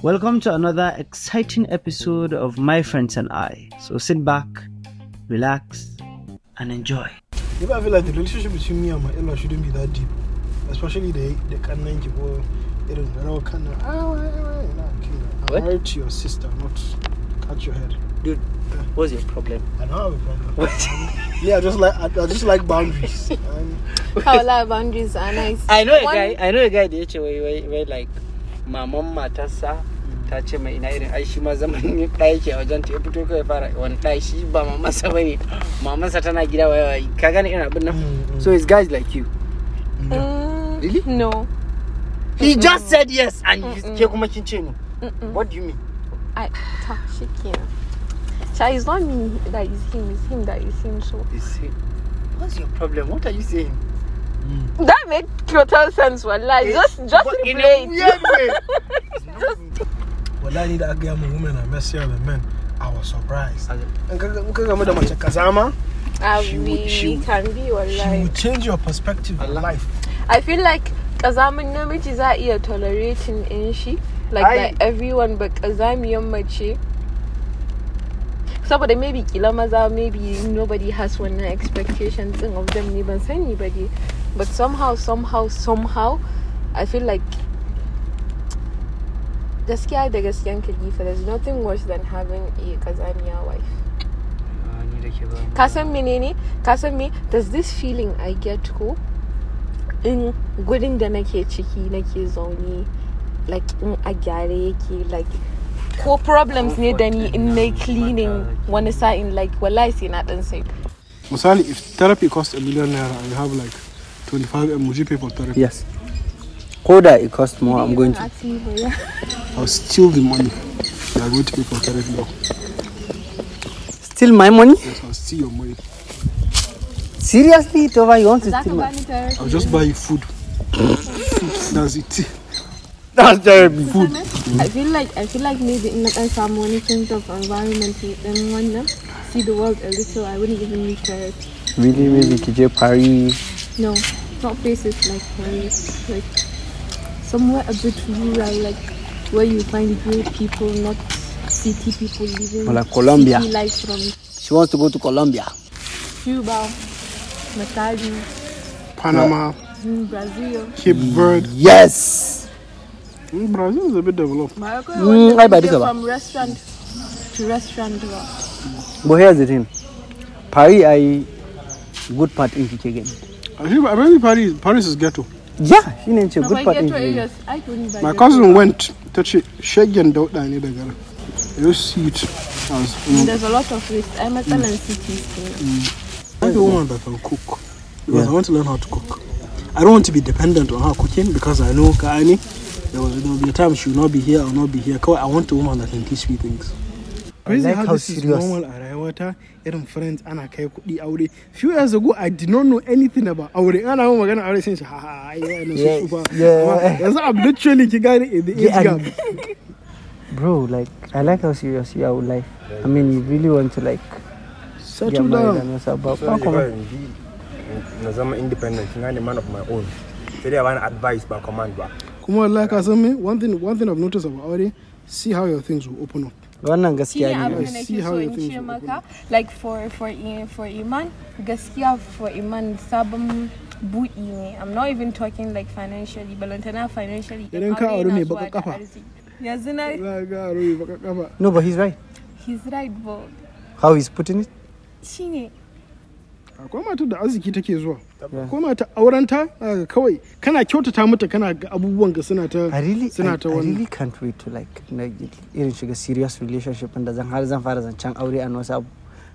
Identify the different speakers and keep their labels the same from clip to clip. Speaker 1: Welcome to another exciting episode of My Friends and I. So sit back, relax, and enjoy.
Speaker 2: Maybe I feel like the relationship between me and my in-law shouldn't be that deep, especially the the Kanan Jibo. It is not all kind of ah, why, why, nah, okay, nah.
Speaker 3: What?
Speaker 2: I'm married to your sister, not cut your head.
Speaker 3: Dude, what's your problem?
Speaker 2: I don't have a problem.
Speaker 3: What?
Speaker 2: Yeah, I just like I, I just like boundaries. and
Speaker 4: How our boundaries are nice.
Speaker 3: I know a
Speaker 4: One-
Speaker 3: guy, I know a guy da ya ce wai wai wai like maman matarsa ta ce mai ina irin ai shi ma zaman ne ɗaya yake a wajen ta ya fito kai fara wani ɗaya shi ba mamansa ba ne mamansa tana gida wai wai ka gane irin abin nan
Speaker 2: Mm, mm.
Speaker 3: so it's guys like you
Speaker 4: Mm,
Speaker 3: Really?
Speaker 4: No.
Speaker 3: he just said yes and
Speaker 1: Mm,
Speaker 3: you- ke kuma kin ce no what do you mean
Speaker 4: I talk shit here. So it's not me that is him, it's him that is him. So
Speaker 3: He say, what's your problem what are you saying
Speaker 4: that made total sense. Wallahi,
Speaker 3: Eh,
Speaker 4: just just
Speaker 3: but in
Speaker 4: replay
Speaker 3: a
Speaker 4: it.
Speaker 3: weird way
Speaker 2: well, I need to get my women and messy other men. I was surprised.
Speaker 3: Okay.
Speaker 2: And kaga- in kaga mu da mace kazama,
Speaker 4: Ah,
Speaker 2: She would-
Speaker 4: we
Speaker 2: she would-
Speaker 4: can be
Speaker 2: she
Speaker 4: wallahi.
Speaker 2: will change your perspective on
Speaker 3: Allah.
Speaker 2: life.
Speaker 4: I feel like kazamin namiji za a iya tolerating in shi like
Speaker 3: Ai.
Speaker 4: that everyone but kazamiyan mace saboda maybe kila maza maybe nobody has wannan expectations din of them ne ban sani ba dai but somehow somehow somehow I feel like gaskiya da gaskiyan kalifa there's nothing worse than having a kazamiya wife
Speaker 3: Ah, ni da ke ba mu-
Speaker 4: ka san menene ka san me does this feeling i get ko in gudun da nake ciki nake zaune like in a gyare yake like ko problems ne da ni in na cleaning wani sa'in like wallahi sai na dan sai
Speaker 2: Misali, if therapy costs a million naira and you have like 25 M, would you pay for therapy?
Speaker 3: yes ko da it cost more i'm going to
Speaker 2: I'll steal the money. You are going to pay for therapy now.
Speaker 3: steal my money
Speaker 2: Yes, I'll steal your money.
Speaker 3: seriously tova you want to steal my
Speaker 2: I'll just buy you food. food. That's it.
Speaker 3: that's terrible
Speaker 4: i feel like i feel like maybe in na dan samu wani change of environment ne dan wannan see the world a little i wouldn't even need therapy
Speaker 3: really really ki je paris
Speaker 4: No, not places like Paris. Like somewhere a bit rural, like where you find real people, not city people living.
Speaker 3: Or like Colombia.
Speaker 4: City life from
Speaker 3: she wants to go to Colombia.
Speaker 4: Cuba, Matali,
Speaker 2: Panama,
Speaker 4: mm, Brazil.
Speaker 2: Cape Verde.
Speaker 3: Yes.
Speaker 2: Mm, Brazil is a bit developed.
Speaker 4: Morocco.
Speaker 3: Mm, I buy this one.
Speaker 4: from restaurant to restaurant. ba.
Speaker 3: But here's the thing. Paris I good part in kike gani.
Speaker 2: I think I really Paris, Paris is ghetto.
Speaker 3: Yeah, shi ne ce
Speaker 4: No,
Speaker 3: good
Speaker 4: my
Speaker 3: part in
Speaker 4: ghetto
Speaker 3: kike gani.
Speaker 4: areas, I couldn't buy
Speaker 2: My
Speaker 4: ghetto.
Speaker 2: cousin went to Shagen Dauda near the girl. You just see it as mm,
Speaker 4: There's a lot of waste. I'm at mm. cities.
Speaker 2: like a woman that can cook. Because I want to learn how to cook. I don't want to be dependent on her cooking because I know Kaani, there, was, there will be a time she will not be here or not be here. Kawai, I want a woman that can teach me things. Crazy
Speaker 3: like
Speaker 2: how,
Speaker 3: how
Speaker 2: this
Speaker 3: serious-
Speaker 2: is normal a rayuwata irin uh, friends ana kai kuɗi aure. Few years ago I did not know anything about aure. Ana mun magana aure sai in ce ha ha ai wannan
Speaker 3: Yeah,
Speaker 2: su tsufa."
Speaker 3: yeah.
Speaker 2: Amma Yanzu I'm literally ki gane in the age
Speaker 3: Yeah,
Speaker 2: gap.
Speaker 3: and- Bro, like I like how serious you are with life. I mean, you really want to like get
Speaker 2: Settle
Speaker 3: married
Speaker 2: down.
Speaker 3: and yourself. But
Speaker 5: so
Speaker 3: how
Speaker 5: that
Speaker 3: come?
Speaker 5: even be na zama independent na ne man of my own sai dai wani advice ba command ba
Speaker 2: Kuma wallahi ka san me one thing one thing I've noticed about aure see how your things will open up.
Speaker 3: Wannan
Speaker 4: shine
Speaker 3: gaskiya ne.
Speaker 2: I
Speaker 4: abin da
Speaker 2: see
Speaker 4: nake
Speaker 2: how
Speaker 4: so
Speaker 2: you
Speaker 4: in
Speaker 2: think
Speaker 4: ce
Speaker 2: so.
Speaker 4: maka like for for i- for iman gaskiya for iman sabon buɗi ne i'm not even talking like financially balantana financially in
Speaker 2: Idan ka
Speaker 4: aure
Speaker 2: auri
Speaker 4: yana
Speaker 2: mai
Speaker 4: zuwa
Speaker 2: baƙar
Speaker 4: da
Speaker 2: ƙafa.
Speaker 4: arziki. yanzu na
Speaker 2: Za ka aure mai baka kafa.
Speaker 3: No, but he's right.
Speaker 4: he's right but
Speaker 3: How he's putting it.
Speaker 4: shine
Speaker 2: akwai matar da arziki take zuwa
Speaker 3: Yeah.
Speaker 2: akwai matar aurenta zaka ga kawai kana kyautata mata kana ga abubuwan ga suna ta
Speaker 3: I really, I,
Speaker 2: suna ta
Speaker 3: I
Speaker 2: wani
Speaker 3: really can't wait to like na irin shiga serious relationship and zan har zan fara zancen aure and wasu abu.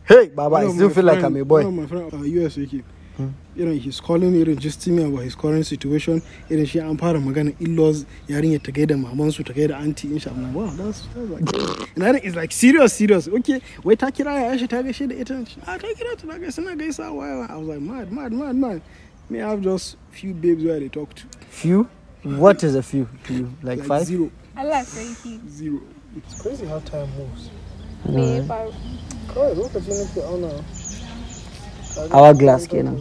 Speaker 3: Hey, Baba, I still feel like I'm a boy. Hmm.
Speaker 2: one of my friend a US yake irin he's calling irin just to me about his current situation irin shi an fara magana in-laws yarinya ta gaida maman su ta gaida aunty in sha Allah wow that's that's like and that is like serious serious okay wai ta kira ya shi ta gaishe da ita She, ah ta kira ta na gaisa suna gaisawa I was like mad mad mad mad me I have just few babes where they talk to
Speaker 3: Few? What is a few to you? Like,
Speaker 2: like
Speaker 3: five?
Speaker 2: zero
Speaker 4: Allah sarki
Speaker 2: zero it's crazy how time moves
Speaker 4: me faru
Speaker 2: kawai lokaci nake auna
Speaker 3: Hourglass kenan.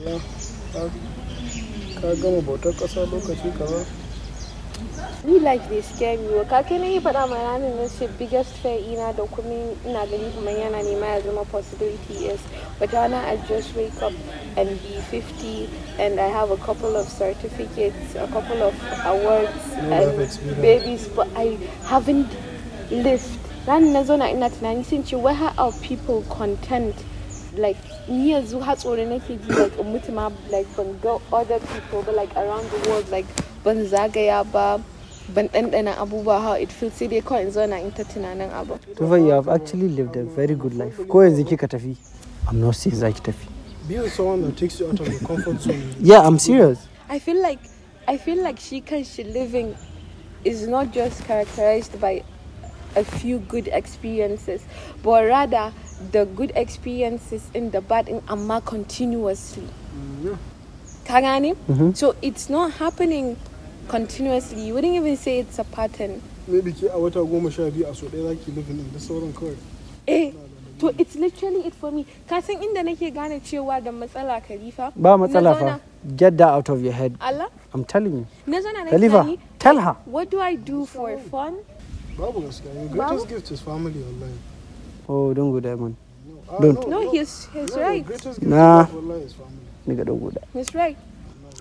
Speaker 2: ka gama bautar ƙasa lokaci kaza
Speaker 6: Ni like they scare me. Ka kai na yi faɗa ma ranar na ce biggest fear ina da kuma ina gani kamar yana nema ya zama possibility is but rana I just wake up and be 50 and I have a couple of certificates, a couple of awards
Speaker 2: life
Speaker 6: and
Speaker 2: experience.
Speaker 6: babies but I haven't lived. Ranar na zauna ina tunani sun ce why are people content like ni yanzu har tsoro nake ji like in mutu ma like ban ga other people ba like around the world like ban zagaya ba ban ɗanɗana abubuwa how it feels sai dai kawai in zauna in ta tunanin abu
Speaker 7: Tufa, you have actually lived a very good life. Ko yanzu kika tafi? I'm not saying za ki tafi.
Speaker 2: Being someone that takes you out of your comfort zone.
Speaker 7: Yeah, I'm serious.
Speaker 6: I feel like I feel like she can she living is not just characterized by a few good experiences, but rather the good experiences and the bad in Amma continuously. Kagani? So it's not happening continuously. You wouldn't even say it's a pattern.
Speaker 2: Maybe ki a wata goma sha biyu a so ɗaya zaki living in da sauran kawai.
Speaker 6: Eh, to it's literally it for me. Ka san inda nake gane cewa da matsala Khalifa?
Speaker 7: Ba
Speaker 6: Na
Speaker 7: matsala
Speaker 6: zauna-
Speaker 7: fa. Get that out of your head.
Speaker 6: Allah?
Speaker 7: I'm telling you.
Speaker 6: Na zauna na
Speaker 7: Khalifa,
Speaker 6: tunani,
Speaker 7: tell her.
Speaker 6: What do I do for fun?
Speaker 2: Babu gaskiya. Your
Speaker 6: Babu?
Speaker 2: greatest gift is family wallahi.
Speaker 7: Oh, don't go there, man.
Speaker 2: No, ah,
Speaker 7: Don't.
Speaker 6: No, he's he's
Speaker 2: No, your
Speaker 6: right.
Speaker 2: greatest gift
Speaker 7: Nah.
Speaker 2: is wallahi is family.
Speaker 7: Nigga, don't go there.
Speaker 6: He's right.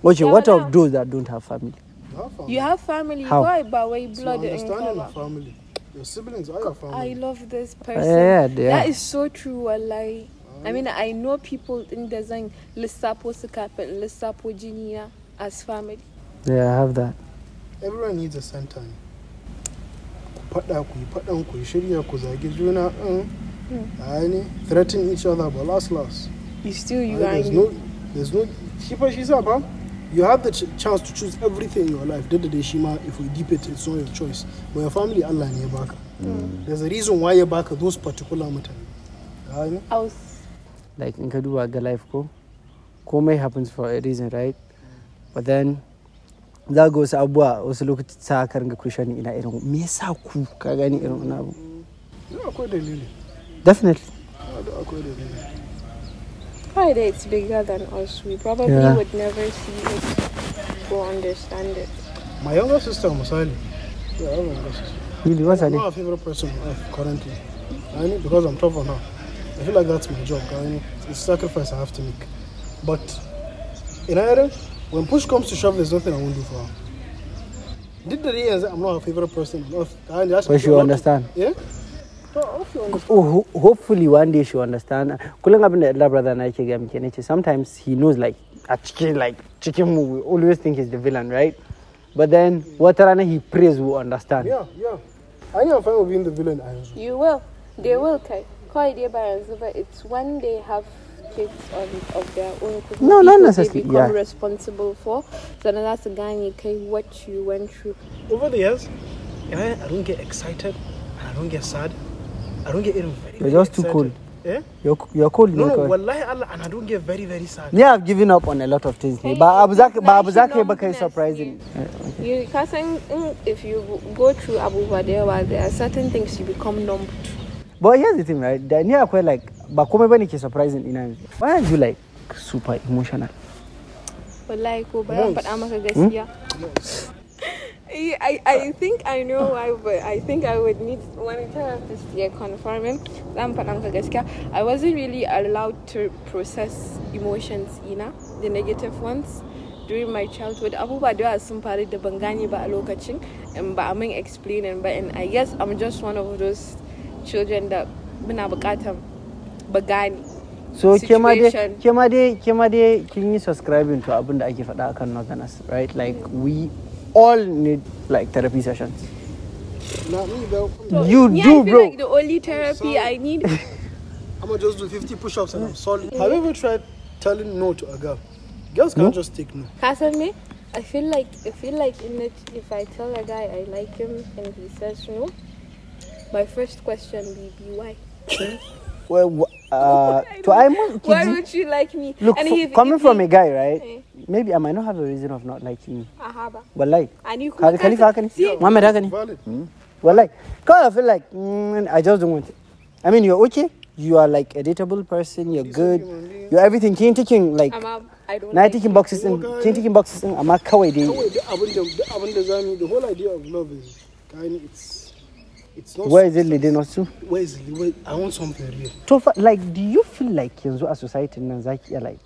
Speaker 7: Okay,
Speaker 6: Yeah,
Speaker 7: what
Speaker 6: but now-
Speaker 7: of those that don't have family?
Speaker 2: You have family.
Speaker 6: You have family.
Speaker 7: How?
Speaker 6: Why, but why blood
Speaker 2: so
Speaker 6: and
Speaker 2: understanding
Speaker 6: color?
Speaker 2: of family. Your siblings are your
Speaker 6: I
Speaker 2: family.
Speaker 6: love this person.
Speaker 7: Yeah, yeah.
Speaker 6: That is so true, wallahi. I mean, I know people in design Lissapo Sakap and Lissapo Jinia as family.
Speaker 7: Yeah, I have that.
Speaker 2: Everyone needs a center. ne. Ku faɗa ku yi faɗan ku yi shirya ku zagi juna ɗin. Ai ne threaten each other but last last.
Speaker 6: You still
Speaker 2: Ai,
Speaker 6: you are
Speaker 2: There's no there's no shi fa shi sa fa you have the ch- chance to choose everything in your life. Duk da dai shi ma if we deep it it's not your choice. But your family Allah ne ya baka. There's a reason why ya baka those particular mutane. Ai ne?
Speaker 6: I was
Speaker 7: like in Kaduwa ga life ko komai happens for a reason right but then za ga wasu abubuwa wasu lokaci sa ka ringa question ina irin me yasa ku ka gani irin wani abu
Speaker 2: Da akwai dalili.
Speaker 7: definitely
Speaker 2: Da akwai dalili.
Speaker 6: probably it's bigger than us. We probably
Speaker 7: Yeah.
Speaker 6: would never see it or understand it.
Speaker 2: My younger sister, Musali. Yeah, I have a younger sister.
Speaker 7: really what's her
Speaker 2: I'm
Speaker 7: name
Speaker 2: not her favorite person on earth currently. I know because I'm tough on her. I feel like that's my job. I know it's a sacrifice I have to make. But in Ireland, when push comes to shove, there's nothing I won't do for her. Did the reason I'm not her favorite person on earth? I know that's
Speaker 7: But she will understand.
Speaker 2: Yeah? So, I hope you understand.
Speaker 7: oh ho- hopefully one day she will understand kullum abin da elder brother na yake ga muke nace sometimes he knows like a cikin like cikin mu we always think he's the villain right but then wata rana he prays we understand
Speaker 2: Yeah, yeah. I know I'm fine with being the villain. I am.
Speaker 6: You will. They will kai. Kawai dai ba yanzu ba. It's when they have kids on, of their own. who-
Speaker 7: No, not
Speaker 6: people They
Speaker 7: necessarily,
Speaker 6: become
Speaker 7: yeah.
Speaker 6: responsible for. Sannan za su gane kai what you went through.
Speaker 2: Over the years, in Ireland, I don't get excited and I don't get sad. I don't get even very
Speaker 7: You're just too Oh cold.
Speaker 2: Yeah?
Speaker 7: you're, you're cold ne kawai.
Speaker 2: wallahi Allah, and I don't get very, very sad.
Speaker 7: Ni I've given up on a lot of things ne.
Speaker 6: Kai
Speaker 7: Ba abu za ka ba abu za ka yi
Speaker 6: international
Speaker 7: ba kai surprising.
Speaker 6: numbness ne. You ka san in- if you go through abubuwa da yawa there are certain things you become numb to.
Speaker 7: But here's the thing right? Da ni akwai like ba komai bane ke surprising ina yanzu. Why are you like super emotional?
Speaker 6: Wallahi ko bayan faɗa maka gaskiya. Eh, I, I think I know why, but I think I would need one therapist here confirming. Zan faɗa maka gaskiya. I wasn't really allowed to process emotions, ina, the negative ones. During my childhood, abubuwa da yawa sun faru da ban gane ba a lokacin, and ba a min explaining ba, and I guess I'm just one of those children that muna buƙatar ba gane.
Speaker 7: So ke ma dai
Speaker 6: Situation.
Speaker 7: ke ma dai ke ma dai kin yi subscribing to abin da ake faɗa akan Northerners right? Like we all need like therapy sessions.
Speaker 2: Not me though.
Speaker 7: You
Speaker 6: yeah,
Speaker 7: do,
Speaker 6: I feel
Speaker 7: bro.
Speaker 6: like the only therapy I need
Speaker 2: I'm gonna just do 50 push-ups and I'm solid. Have you ever tried telling no to a girl? Girls can't just take no.
Speaker 6: Kasan me? I feel like I feel like in it, if I tell a guy I like him and he says no, my first question will be why?
Speaker 7: Well, uh, to I must
Speaker 6: Why
Speaker 7: ki-
Speaker 6: would you like me?
Speaker 7: look
Speaker 6: and
Speaker 7: fo-
Speaker 6: if-
Speaker 7: coming
Speaker 6: if
Speaker 7: from
Speaker 6: he-
Speaker 7: a guy right?
Speaker 6: Eh.
Speaker 7: Maybe I might not have a reason of not liking you.
Speaker 6: Aha ba.
Speaker 7: Wallahi.
Speaker 6: And you
Speaker 7: Khal- Khalifa haka ne? Muhammad haka ne?
Speaker 2: Valid.
Speaker 7: Well, like, kind of feel like mm, I just don't want it. I mean, you're okay. You are like a dateable person. You're good. You're everything. Can't taking like
Speaker 6: I'm out. I don't
Speaker 7: na yi
Speaker 6: like
Speaker 7: tikin boxes din kin tikin boxes din amma kawai dai
Speaker 2: kawai duk abin da duk abin da zamu yi the whole idea of love is kind it's it's not
Speaker 7: where is it leading us to
Speaker 2: where is it where, I want something real
Speaker 7: to fa- like do you feel like yanzu a society nan zaki iya like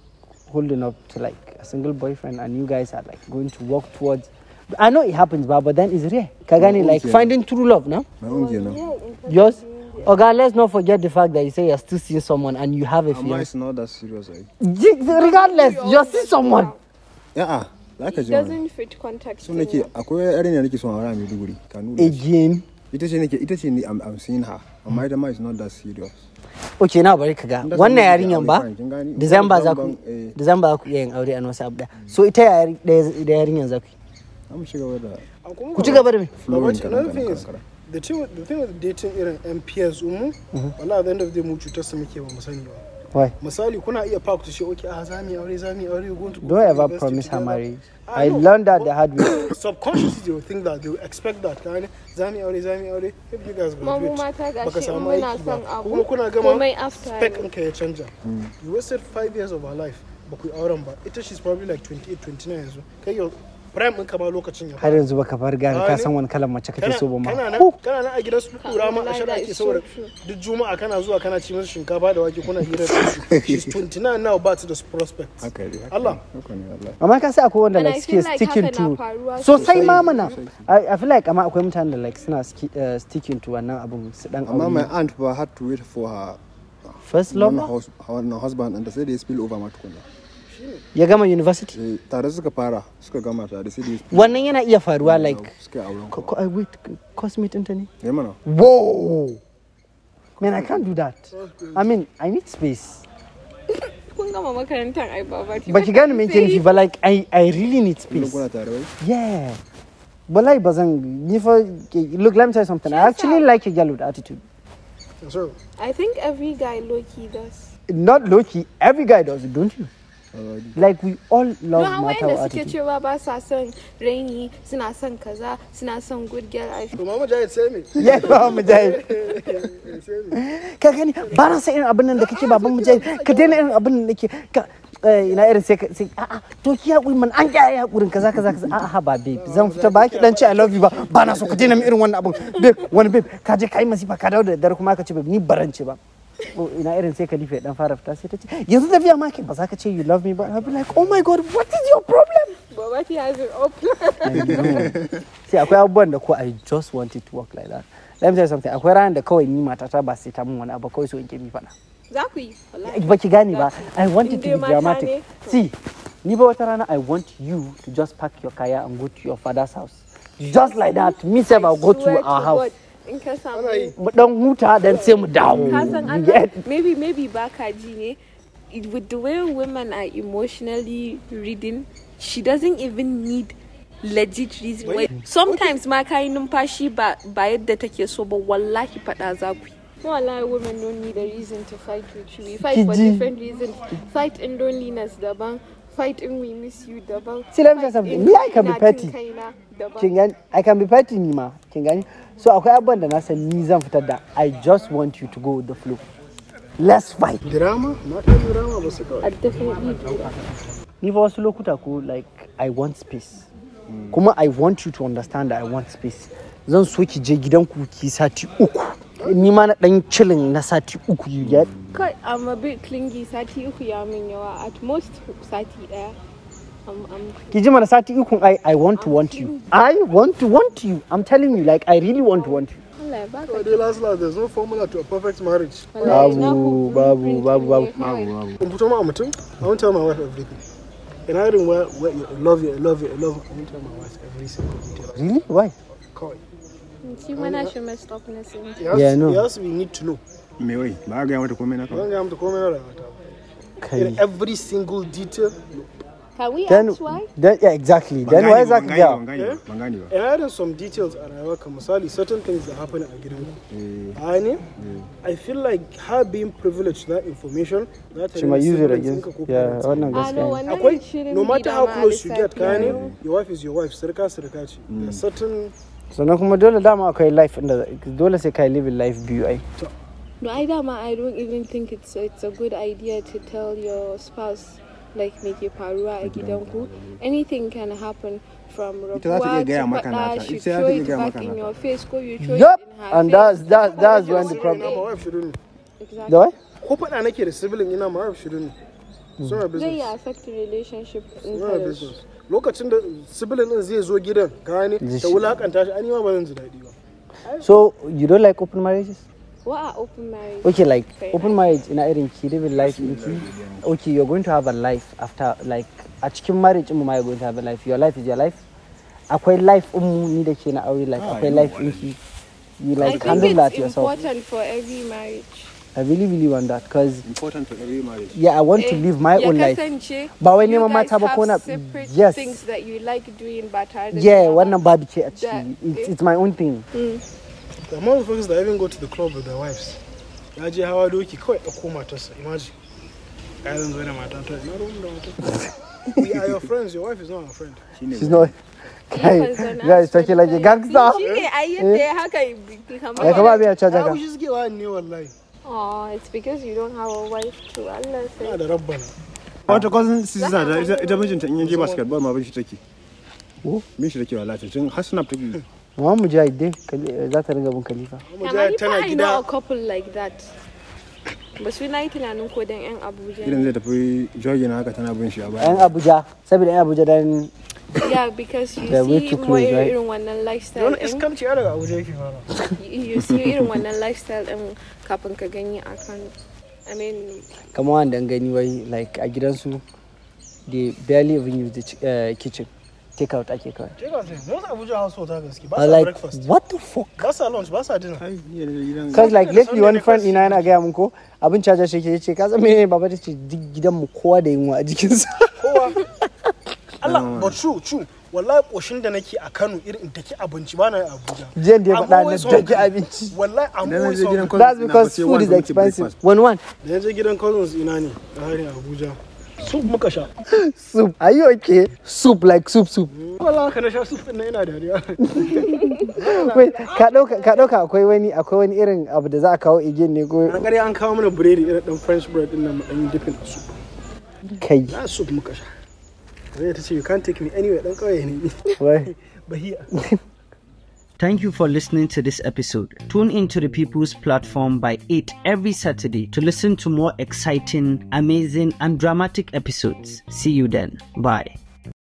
Speaker 7: holding up to like a single boyfriend and you guys are like going to work towards I know it happens ba but then it's rare ka gane like finding true love no
Speaker 5: na own kenan
Speaker 7: yours Oga, let's not forget the fact that you say you're still seeing someone and you have a
Speaker 5: amma
Speaker 7: fiance.
Speaker 5: it's not that serious ai
Speaker 7: Regardless, you're still someone.
Speaker 5: a'a zaka
Speaker 6: It
Speaker 5: ji mana
Speaker 6: doesn't fit contact.
Speaker 5: so nake akwai yarinya da nake son aure a Maiduguri Kanuri
Speaker 7: Again.
Speaker 5: ita ce nake ita ce ni I'm, I'm seeing her amma ita ma is not that serious
Speaker 7: Okay, na bari ka ga.
Speaker 5: Inda
Speaker 7: Wannan
Speaker 5: zan yi
Speaker 7: yarinyan
Speaker 5: aure
Speaker 7: ba?
Speaker 5: kawai, kin gani?
Speaker 7: December za ku
Speaker 5: Ban- eh.
Speaker 7: December za ku iya yin aure a wasu abu da. So ita yari da da yarinyan za ku. yi.
Speaker 5: za mu ci gaba da
Speaker 2: and kuma
Speaker 7: Ku ci gaba da me?
Speaker 5: flowing
Speaker 2: But another
Speaker 5: kadan
Speaker 2: thing
Speaker 5: kadan
Speaker 2: is,
Speaker 5: kadan
Speaker 2: the thing with, the thing with dating irin MPS umu wala at the end of the day mu cutar su muke ba mu sani ba
Speaker 7: Mm-hmm. Why?
Speaker 2: misali kuna iya park to ce okay ah za mu yi aure za mu yi aure we're going to go to
Speaker 7: Don't ever
Speaker 2: university
Speaker 7: promise her
Speaker 2: together."
Speaker 7: marriage.
Speaker 2: Ah,
Speaker 7: I
Speaker 2: no.
Speaker 7: learned that the hard way.
Speaker 2: subconsciously they will think that they will expect that kind za mu yi aure za mu yi aure if you guys
Speaker 6: Mamu
Speaker 2: graduate
Speaker 6: mata ga
Speaker 2: baka
Speaker 6: shi
Speaker 2: samu
Speaker 6: in muna
Speaker 2: aiki ba
Speaker 6: son abu,
Speaker 2: kuma kuna gama
Speaker 6: komai after
Speaker 2: spec
Speaker 6: ne.
Speaker 2: in ka ya canja you wasted five years of her life ba ku yi auren ba ita she's probably like 28 29 yanzu kai yau prime ɗin ka ma lokacin ya
Speaker 7: Har yanzu baka far gane ka
Speaker 2: Gane?
Speaker 7: san wani kalan mace kake so ba ma.
Speaker 2: kana nan
Speaker 7: Ko
Speaker 2: kana nan a gidan su kura ma a shara ake saboda duk juma'a kana zuwa kana ci musu shinkafa da wake kuna hira da su she's 29 now but to the prospect
Speaker 5: haka ne haka
Speaker 2: Allah
Speaker 5: ne, haka ne Allah
Speaker 7: amma ka sa akwai wanda
Speaker 6: And I
Speaker 7: like
Speaker 6: feel
Speaker 7: suke
Speaker 6: like
Speaker 7: sticking
Speaker 6: haka na
Speaker 7: to
Speaker 6: faruwa
Speaker 7: sosai ma mana I I feel like amma akwai mutanen da like suna ski- eh, sticking to wannan abun su dan
Speaker 5: amma my
Speaker 7: aure
Speaker 5: aunt ba had to wait for her
Speaker 7: first
Speaker 5: non
Speaker 7: love
Speaker 5: hus- her non husband and sai da ya spill over ma tukunna
Speaker 7: ya gama university
Speaker 5: Eh, tare suka fara suka gama tare sai da ya spill
Speaker 7: wannan yana iya faruwa like
Speaker 5: suka yi auren
Speaker 7: co-
Speaker 5: ku
Speaker 7: co- eh, wait cosmate ɗinta ne
Speaker 5: ne mana
Speaker 7: Whoa! Man, I can't do that. I mean, I need space.
Speaker 6: Kun gama makarantar ai baba.
Speaker 7: But you gotta maintain it, but like, I, I really need
Speaker 5: kullum
Speaker 7: space.
Speaker 5: kuna tare wai
Speaker 7: Yeah. But like, Bazang, if I, look, let me tell you something. I actually like a girl with attitude.
Speaker 2: yes, sir
Speaker 6: I think every guy low key does.
Speaker 7: Not low key, every guy does it, don't you? Like, we all
Speaker 6: No,
Speaker 7: love
Speaker 6: hawaye
Speaker 7: matter
Speaker 6: da
Speaker 7: our
Speaker 6: suke
Speaker 7: attitude.
Speaker 6: cewa ba sa son raini suna son kaza suna son good girl. I
Speaker 2: to mama jahid sai me
Speaker 7: Yeah, ba mu jai.
Speaker 2: sai me
Speaker 7: Ka gani, ba na sa irin abin nan da kake baban mu jai. Ka daina irin abin nan da nake. Ka eh, ina irin sai ka sai a'a to ki haƙuri man an ga ya haƙurin kaza kaza kaza a'a ha ba babe zan fita ba ki dan ce I love you ba ba na so ka daina min irin wannan abin babe wani babe ka je kai masifa ka dawo da daddare kuma ka ce babe ni baran ce ba Oh, ina irin sai Khalifa ya dan fara fita sai ta ce yanzu tafiya ma ke ba za ka ce you love me ba I'll be like oh my god what is your problem
Speaker 6: Baba he has oh, it open.
Speaker 7: sai akwai abubuwan da ko I just wanted to work like that let me tell you something akwai ranar da kawai ni matata ba sai ta mun wani abu kawai so in ke mi faɗa
Speaker 6: Za ku yi. wallahi.
Speaker 7: ba ki gane ba i want
Speaker 6: In
Speaker 7: it to
Speaker 6: dai
Speaker 7: be
Speaker 6: mata ne,
Speaker 7: dramatic
Speaker 6: to.
Speaker 7: see ni ba wata rana i want you to just pack your kaya and go to your father's house just like that me sef i go
Speaker 6: Swear
Speaker 7: to our house
Speaker 6: God, In ka
Speaker 2: Ana yi.
Speaker 6: samu.
Speaker 7: mu dan huta dan sai mu dawo
Speaker 6: Ka san
Speaker 7: You
Speaker 6: Allah
Speaker 7: get?
Speaker 6: maybe maybe baka ji ne. It- With the way women are emotionally reading, she doesn't even need legit reason. why. Sometimes ma ka yi numfashi ba ba yadda take so ba wallahi faɗa za ku yi. No, Allah, women don't need a reason to fight with you. We fight for
Speaker 7: Kiji.
Speaker 6: different reasons. Fight in loneliness, daban. Fight in we miss you, daban.
Speaker 7: See, let me tell
Speaker 6: Fight
Speaker 7: you
Speaker 6: in
Speaker 7: something. Me, I can be
Speaker 6: ina jin
Speaker 7: petty.
Speaker 6: kaina, daban.
Speaker 7: kin gani i can be petty ni ma kin gani so akwai abubuwan da na san ni zan fitar da i just want you to go with the flow let's fight
Speaker 2: drama na ɗan drama ba su kawai
Speaker 6: I definitely do that.
Speaker 7: ni fa wasu lokuta ko like i want space kuma i want you to understand that i want space zan so ki je gidanku ki sati uku ni ma na dan chilling na sati uku you get
Speaker 6: Kai, I'm a bit clingy. Sati uku ya min yawa. At most sati ɗaya. I'm, I'm
Speaker 7: ki ji mana sati uku i i want to want you i want to want you i'm telling you like i really want to want you
Speaker 6: Allah ya baka.
Speaker 2: dai last last there's no formula to a perfect marriage
Speaker 6: Wallahi, na ku
Speaker 7: babu babu babu
Speaker 6: blueprint ne kawai.
Speaker 2: in fito ma a mutum i won't tell my wife everything and I didn't wear, wear you, I love you, I love you, I love you. I won't tell my wife every single detail.
Speaker 7: really why
Speaker 2: Kawai.
Speaker 6: Shi ma na shi messed up na sin.
Speaker 2: Yes,
Speaker 7: Yeah, I know.
Speaker 2: yes, we need to know.
Speaker 5: me wai ba a gaya mata komai na
Speaker 2: Don't
Speaker 5: kawai
Speaker 2: get to komai na rayuwa ta. ba.
Speaker 7: kai
Speaker 2: Irin Every single detail.
Speaker 6: Can we
Speaker 7: then
Speaker 6: ask why?
Speaker 7: then yeah exactly then why
Speaker 5: Ban
Speaker 7: zaka
Speaker 5: gane ba,
Speaker 7: ga
Speaker 5: ban gane ba, ban gane ba
Speaker 2: And I had some details a rayuwa kan misali certain things that happen a gidan ku.
Speaker 7: Mm.
Speaker 2: A ne? I feel like her being privileged to that information that
Speaker 7: she might use it against yeah wannan
Speaker 6: Ah, no,
Speaker 7: gaskiya ne.
Speaker 6: wannan
Speaker 2: Akwai
Speaker 6: shirin
Speaker 2: no
Speaker 6: bi
Speaker 2: matter
Speaker 6: da
Speaker 2: how
Speaker 6: ma
Speaker 2: close you get
Speaker 6: lissafi
Speaker 2: ka
Speaker 6: ne.
Speaker 2: ne your wife is your wife sirka sirka ce.
Speaker 7: Mm.
Speaker 2: There are certain
Speaker 7: sannan kuma dole dama akwai life inda dole sai kai living life biyu ai
Speaker 6: No, I dama I don't even think it's it's a good idea to tell your spouse like me ke faruwa a gidanku anything can happen from
Speaker 5: Ita za ta iya
Speaker 6: rabuwa
Speaker 5: gaya
Speaker 6: to
Speaker 5: maka
Speaker 6: faɗa
Speaker 5: nata.
Speaker 6: she
Speaker 5: Ita za ta
Speaker 6: throw
Speaker 5: iya
Speaker 6: it
Speaker 5: gaya
Speaker 6: back
Speaker 5: maka
Speaker 6: in
Speaker 5: nata.
Speaker 6: your face ko you throw
Speaker 7: Yup,
Speaker 6: it in her
Speaker 7: and
Speaker 6: face
Speaker 7: that's- that's- that's when the problem-
Speaker 2: ina ma wife shiru ne
Speaker 6: exactly
Speaker 7: The what? Mm.
Speaker 2: ko faɗa nake da sibling ina ma wife shiru ne suna
Speaker 6: zai
Speaker 2: business
Speaker 6: ya affect relationship in
Speaker 2: suna business lokacin da sibling din zai zo gidan ka gane
Speaker 7: Zai
Speaker 2: ta
Speaker 7: shi-
Speaker 2: wulakanta shi anima ba zan ji daɗi ba
Speaker 7: So you don't like open marriages?
Speaker 6: what are open marriage
Speaker 7: Okay, like
Speaker 6: Fair
Speaker 7: open marriage in irin ki living life in ki. Okay, you're going to have a life after like a cikin marriage mu ma you're going to have a life. Your life is your life. Akwai life in mu ni da ke na aure
Speaker 2: Ah,
Speaker 7: like akwai life in ki. You
Speaker 6: I
Speaker 7: like
Speaker 6: think
Speaker 7: handle that
Speaker 6: it's
Speaker 7: yourself.
Speaker 6: important for every marriage
Speaker 7: I really really want that because
Speaker 5: Important for every marriage.
Speaker 7: yeah, I want to
Speaker 6: Eh,
Speaker 7: live my
Speaker 6: ya
Speaker 7: own life.
Speaker 6: kasance
Speaker 7: Ba wai
Speaker 6: you
Speaker 7: neman
Speaker 6: guys
Speaker 7: mata ba ko
Speaker 6: have
Speaker 7: na-
Speaker 6: separate
Speaker 7: Yes.
Speaker 6: things that you like doing ba tare da
Speaker 7: Yeah,
Speaker 6: juna ba.
Speaker 7: wannan babu ce a ciki.
Speaker 6: That- eh,
Speaker 7: It's, it's my own thing.
Speaker 2: the amount of folks that even go to the club with their wives ya je hawa doki kawai ɗauko matarsa imagine ka zan zo da matata ina ruwan da matata we are your friends your wife is not our friend
Speaker 7: She's not. Guys,
Speaker 6: Because an
Speaker 7: guys, talking like a
Speaker 6: husband doesn't
Speaker 7: gangster.
Speaker 6: see- Shine ai yadda ya haka ya bi- kamar-
Speaker 7: Eh, kama biya
Speaker 2: I
Speaker 7: caja
Speaker 2: was just get one new online.
Speaker 6: Aw, it's because you don't have a wife to Allah
Speaker 2: Ina
Speaker 6: sai.
Speaker 2: da rabbana.
Speaker 5: Wata cousin sister da ita- ita mijinta in yaje basketball ma bin shi take.
Speaker 7: Oh.
Speaker 5: Bin shi take wallahi tun har snap take. yi.
Speaker 7: Mama Mujahid dai Kali- za ta ringa bin Khalifa.
Speaker 6: Amma
Speaker 2: Mujahid
Speaker 6: ni fa
Speaker 2: tana
Speaker 6: I know a
Speaker 2: gida.
Speaker 6: couple like that. Ba su na yi tunanin ko dan 'yan Abuja.
Speaker 5: Irin zai tafi jogging haka tana bin shi a
Speaker 7: Yan
Speaker 5: baya.
Speaker 7: Abuja, saboda yan Abuja dan
Speaker 6: Yeah, because you
Speaker 7: They're way
Speaker 6: see
Speaker 7: too
Speaker 6: more
Speaker 7: close, right?
Speaker 6: irin wannan lifestyle
Speaker 2: Wani
Speaker 6: ɗin.
Speaker 2: iskanci ya daga Abuja yake fara.
Speaker 6: You you see irin wannan lifestyle ɗin kafin ka gani a Kano. I mean,
Speaker 7: kamar wanda an gani wai like a gidansu they barely even use the ch- uh, kitchen take out ake kawai
Speaker 2: Je ka sai most Abuja household haka gaske ba
Speaker 7: I
Speaker 2: sa
Speaker 7: like
Speaker 2: breakfast.
Speaker 7: what the fuck
Speaker 2: Ba sa lunch ba sa dinner.
Speaker 5: Ai, ni da gidan.
Speaker 7: cause like lately
Speaker 2: Sunday
Speaker 7: wani
Speaker 2: ne
Speaker 7: friend
Speaker 2: kawai.
Speaker 7: ina yana gaya mun ko abin caja shi ke ce ka san menene baba ta ce duk gidanmu kowa da yunwa a jikinsa
Speaker 2: Kowa. Allah but true true. Wallahi koshin da nake a Kano irin daki abinci ba na yi a Abuja.
Speaker 7: jiyan da ya
Speaker 2: I'm
Speaker 7: faɗa na
Speaker 2: always
Speaker 7: daki
Speaker 2: hungry.
Speaker 7: abinci
Speaker 2: Wallahi I'm
Speaker 5: Idan na
Speaker 2: always
Speaker 5: je gidan
Speaker 2: hungry.
Speaker 5: cousin
Speaker 7: that's
Speaker 5: ina,
Speaker 7: because
Speaker 5: sai
Speaker 7: food
Speaker 5: one
Speaker 7: is
Speaker 5: don't eat
Speaker 7: expensive
Speaker 5: breakfast.
Speaker 7: one one
Speaker 2: Da yanzu gidan cousins ina ne a harin Abuja. Soup muka sha.
Speaker 7: soup are you okay soup like soup soup
Speaker 2: Wallahi haka na sha soup din na ina dariya.
Speaker 7: wait ka ɗauka ka ɗauka akwai wani akwai wani irin abu da za a kawo igin ne ko
Speaker 2: An gari an kawo mana biredi irin dan French bread din nan mu dan dipin a soup.
Speaker 7: kai
Speaker 2: Na soup muka sha. Zai ta ce you can't take me anywhere dan kauye ne ni.
Speaker 7: wai
Speaker 2: Bahiya.
Speaker 1: Thank you for listening to this episode. Tune into the People's Platform by 8 every Saturday to listen to more exciting, amazing, and dramatic episodes. See you then. Bye.